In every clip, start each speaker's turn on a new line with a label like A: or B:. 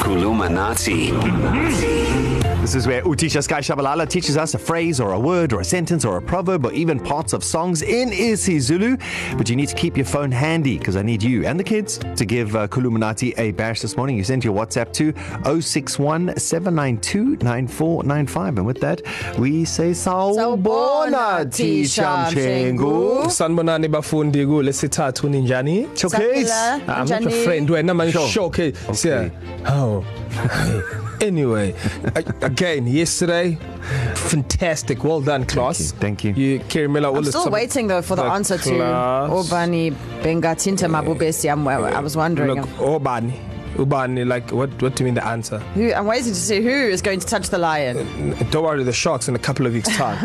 A: Kulumanati.
B: This is where Utisha Sky Shabalala teaches us a phrase or a word or a sentence or a proverb or even parts of songs in isiZulu. But you need to keep your phone handy because I need you and the kids to give uh, Kuluminati a bash this morning. You send your WhatsApp to 061 792 9495. And with that, we say Sawubona Tisha Mchengu.
C: sanibonani bafundi kulesithathu ninjani Ah,
B: Showcase.
D: Sakula.
C: i'm not your
D: Njani?
C: friend wena manje
B: Sure.
C: showcase
B: Okay.
C: yeah how anyway a- again yesterday fantastic well done class
B: Thank you, thank you.
C: you Kirimela all
D: I'm
C: the
D: still waiting though for the, the answer class. to Obani Bengatinta Mabubesi. I'm, I was wondering.
C: look obani ubani like what what do you mean the answer
D: Who, I'm waiting to see who is going to touch the lion.
C: Don't worry, the Sharks in a couple of weeks' time.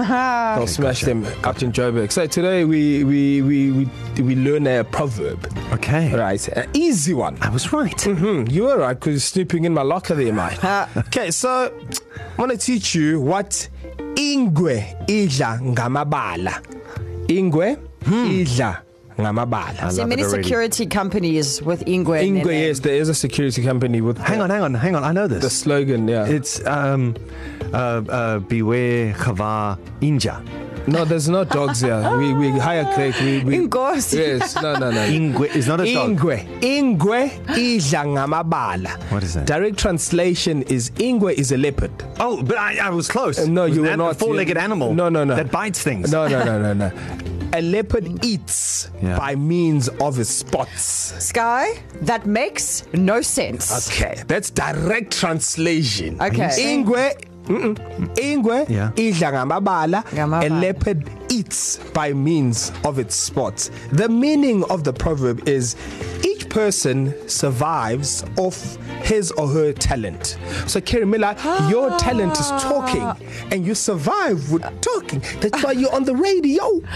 C: They'll smash gotcha, them gotcha. up in Joburg. So today we we we we, we learn a proverb,
B: Okay. Right. Mm-hmm.
C: right? An easy one.
B: I was right.
C: Hmm, you were right because you're snooping in my locker there, mate.
D: Ha.
C: okay, so I'm going to teach you what ingwe idla ngamabala. Ingwe hmm. idla ngamabala.
B: love
D: So
B: it
D: many
B: already.
D: security companies with Ingwe. in their
C: Ingwe,
D: name.
C: yes, there is a security company with
B: um, Hang on, hang on, hang on. I know this.
C: the slogan, yeah. It,
B: It's um, uh, uh, beware Khava Inja.
C: no, there's no dogs here. We we hire Craig. We, we,
D: Inkosi.
C: Yes, no, no, no.
B: Ingwe is not a dog.
C: Ingwe. Ingwe idla ngamabala.
B: What is that?
C: Direct translation is Ingwe is a leopard.
B: Oh, but I, I was close.
C: Uh, no,
B: It was
C: you
B: an
C: were
B: an-
C: not.
B: Four-legged
C: You-
B: animal.
C: No, no, no.
B: That bites things.
C: No, no, no, no, no. A leopard eats
B: Yeah.
C: yeah. by means of its spots.
D: Sky, that makes no sense.
C: Okay, that's direct translation.
D: Okay.
C: Ingwe. Mm-mm. Ingwe
B: Yeah.
C: idla ngamabala a
D: Ngamabala.
C: leopard eats by means of its spots. The meaning of the proverb is each person survives off his or her talent. So Kerry Miller, ah. your talent is talking and you survive with talking. That's why you're on the radio.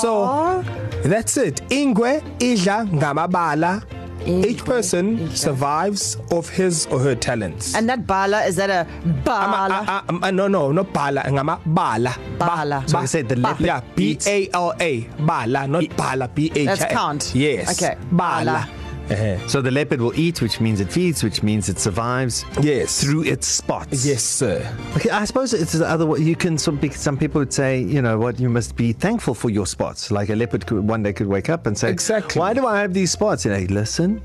C: So that's it. Ingwe idla ngamabala. Each
D: Ingwe
C: person
D: idla.
C: survives of his or her talents.
D: And that bala, is that a bala?
C: Ama, a, a, a, no, no, no, bala. eh, Ngama, bala.
D: Bala.
B: So I said the leopard
C: Yeah, B
B: eats-
C: A L A. Bala, not bala. B A.
D: That's count.
C: Yes.
D: Okay,
C: Bala.
D: bala.
C: Uh-huh.
B: So the leopard will eat, which means it feeds, which means it survives.
C: Yes.
B: Through its spots.
C: Yes, sir.
B: Okay, I suppose it's the other way. You can some pe- some people would say, you know, what you must be thankful for your spots. Like a leopard could one day could wake up and say,
C: Exactly.
B: Why do I have these spots? And I listen,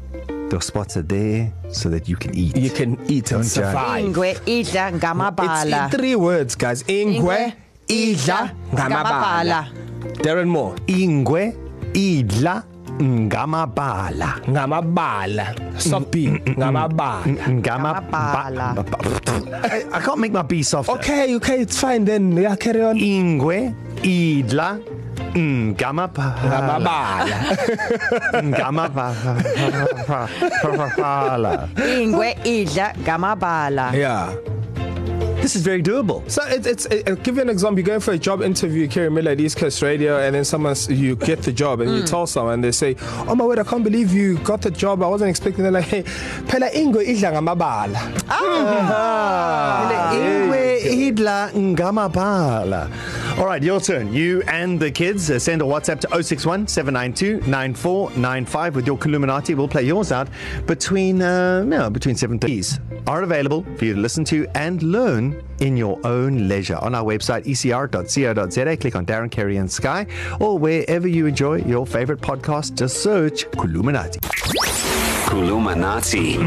B: those spots are there so that you can eat.
C: You can eat
B: Don't
C: and
B: judge.
C: survive.
D: Ingwe idla ngamabala.
C: It's in three words, guys. Ingwe,
D: Ingwe,
C: idla, ngamabala. Darren Moore.
B: Ingwe idla ngamabala.
C: Ngamabala. Stop B. mm, Ngamabala.
B: Ngama
D: Ngamabala.
B: ba- ba- I, I can't make my B softer.
C: mm. Okay, okay, it's fine then. Yeah, carry on.
B: Ingwe idla ngamabala.
C: Ngamabala.
B: Ngamabala.
D: Ingwe idla ngamabala.
C: yeah.
B: This is very doable.
C: So it, it's it, I'll give you an example. You're going for a job interview, Kerry Miller at East Coast Radio, and then someone s- you get the job, and mm. you tell someone they say, "Oh my word, I can't believe you got the job. I wasn't expecting." They're like, "Hey, pela ingo idla ngamabala."
B: Ah. Ingwe idla ngamabala. All right, your turn. You and the kids uh, send a WhatsApp to 061 792 9495 with your Kuluminati. We'll play yours out between uh, no, between 7 These are available for you to listen to and learn in your own leisure on our website E ecr.co.za. Click on Darren Kerry and Sky or wherever you enjoy your favorite podcast. Just search Kuluminati.
A: Kulumanati.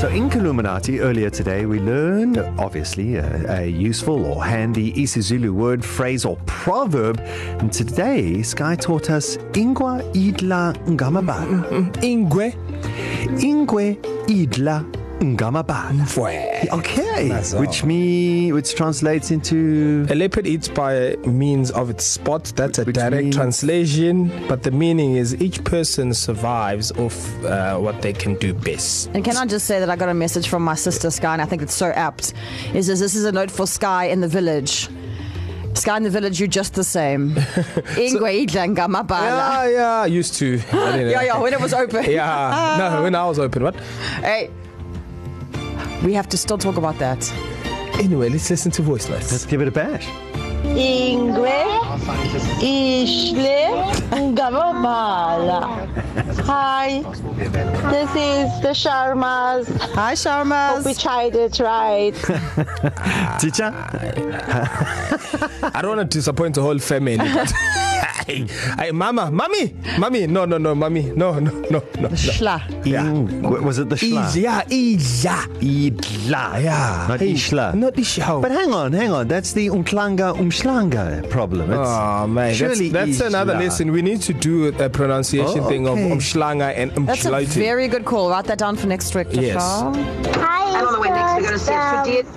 B: So in Kaluminati earlier today, we learned obviously a, a useful or handy isiZulu word, phrase, or proverb. And today, Sky taught us ingwa idla ngamabala.
C: Ingwe
B: Ingwe idla ngamabala.
C: mfwe.
B: Okay,
C: That's all.
B: which me which translates into
C: A leopard eats by means of its spot. That's a
B: Which
C: direct
B: means-
C: means... translation, but the meaning is each person survives off uh, what they can do best.
D: And can I just say that I got a message from my sister Sky, and I think it's so apt. Is this, this is a note for Sky in the village? Sky in the village, you just the same. Ingwe idla ngamabala.
C: Yeah, yeah, I used to. I didn't-
D: Yeah, yeah. When it was open.
C: Yeah, no, when I was open, what?
D: Hey, we have to still talk about that.
C: Anyway, let's listen to voice notes.
B: let's give it a bash.
E: Ingwe
A: Ishle Ngavabala. Hi, this is the Sharmas.
D: Hi,
A: We
D: Sharmas.
A: tried it right.
C: Ah.
B: Teacher?
C: I don't want to disappoint the whole family. But hey, hey, mama, mommy, mommy, no, no, no, mommy, no, no, no, no.
D: Shla.
B: Yeah. Was it the shla?
C: Ija, Ija,
B: Idla.
C: yeah,
B: Not
C: Hey,
B: ishla.
C: not ishla.
B: But hang on, hang on. That's the umklanga umschlanga problem. It's
C: Oh man,
B: surely
C: that's, that's another
B: ishla.
C: lesson. We need to do a pronunciation
B: Oh,
C: thing of
B: okay.
C: umschlanger and um,
D: That's a
C: umschlaute.
D: very good call. Write that down for next week,
C: Yes.
D: Tashar.
E: Hi,
F: I don't know when next we're going to see it. Today,
E: East Coast, um,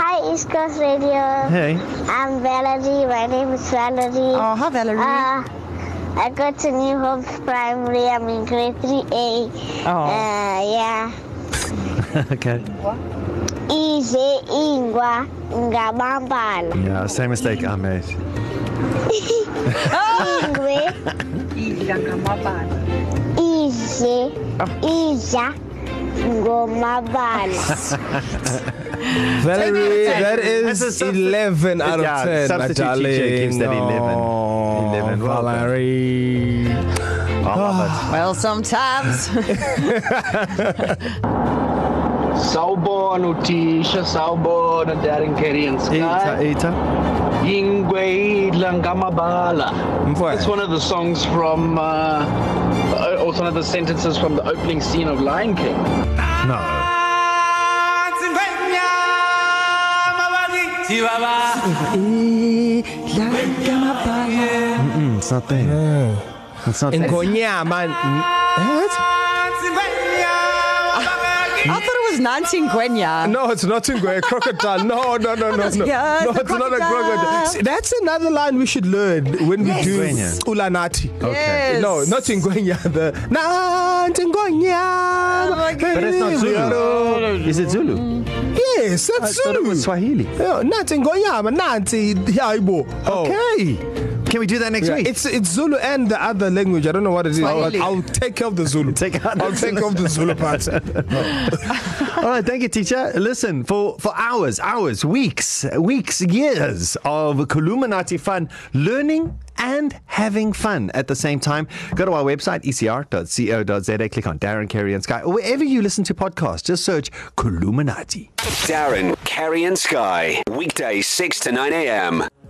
E: Hi, East Coast Radio.
B: Hey.
E: I'm Valerie. My name is Valerie.
D: Oh, hi, Valerie.
E: Uh, I go to New Hope Primary. I'm in grade 3A.
D: Oh.
E: Uh, yeah.
B: okay.
E: Ize ingwa ngabambala.
B: Yeah, same mistake ah, I made.
E: Ingwe E ize
D: Oh.
E: iza ngomabala.
C: Valerie, that
B: That's a
C: is
B: substi-
C: eleven out of
B: Yeah,
C: ten. my
B: substitute teacher
C: darling.
B: gives that 11.
C: Oh,
B: 11, well done.
C: Valerie.
B: I love
D: Well, sometimes.
G: Sawubona uthisha sawubona Darren Kerry and
B: it.
G: Sky
B: Eta, eta.
G: Ingweidla ngamabala
C: Mfwe.
G: It's one of the songs from uh, uh, or one of the sentences from the opening scene of Lion King
B: No. Mm, it's not there.
C: Ah.
B: It's not there.
C: Ngonyama. What?
D: I thought it was 19 Gwenya.
C: No, it's not Ngwe. Crocodile. No, no, no, no, no.
D: Yeah,
C: no,
D: it's a
C: it's not a crocodile.
D: crocodile.
C: See, that's another line we should learn when we
D: Yes.
C: do
B: Ngwenya.
C: Ulanati.
D: Yes.
C: No, not Ngwenya. The na Ngwenya.
B: Oh But it's not Zulu. Is it Zulu?
C: Yes,
B: I
C: that's
B: thought it was
C: Zulu.
B: Swahili.
C: Yeah, Nanti Ngonyama, Nanti Yaibo.
B: Oh. Okay. Can we do that next
C: Yeah,
B: week?
C: it's it's Zulu and the other language. I don't know what it is. I'll,
D: Swahili.
C: I'll take care of the Zulu.
B: Take out the
C: I'll take
B: Zulu.
C: off the Zulu part.
B: All right, thank you, teacher. Listen, for, for hours, hours, weeks, weeks, years of Columinati fun, learning and having fun at the same time. Go to our website, E ecr.co.za, click on Darren, Kerry, and Sky, or wherever you listen to podcasts, just search Columinati.
H: Darren, Kerry, and Sky. Weekdays 6 to 9 a.m.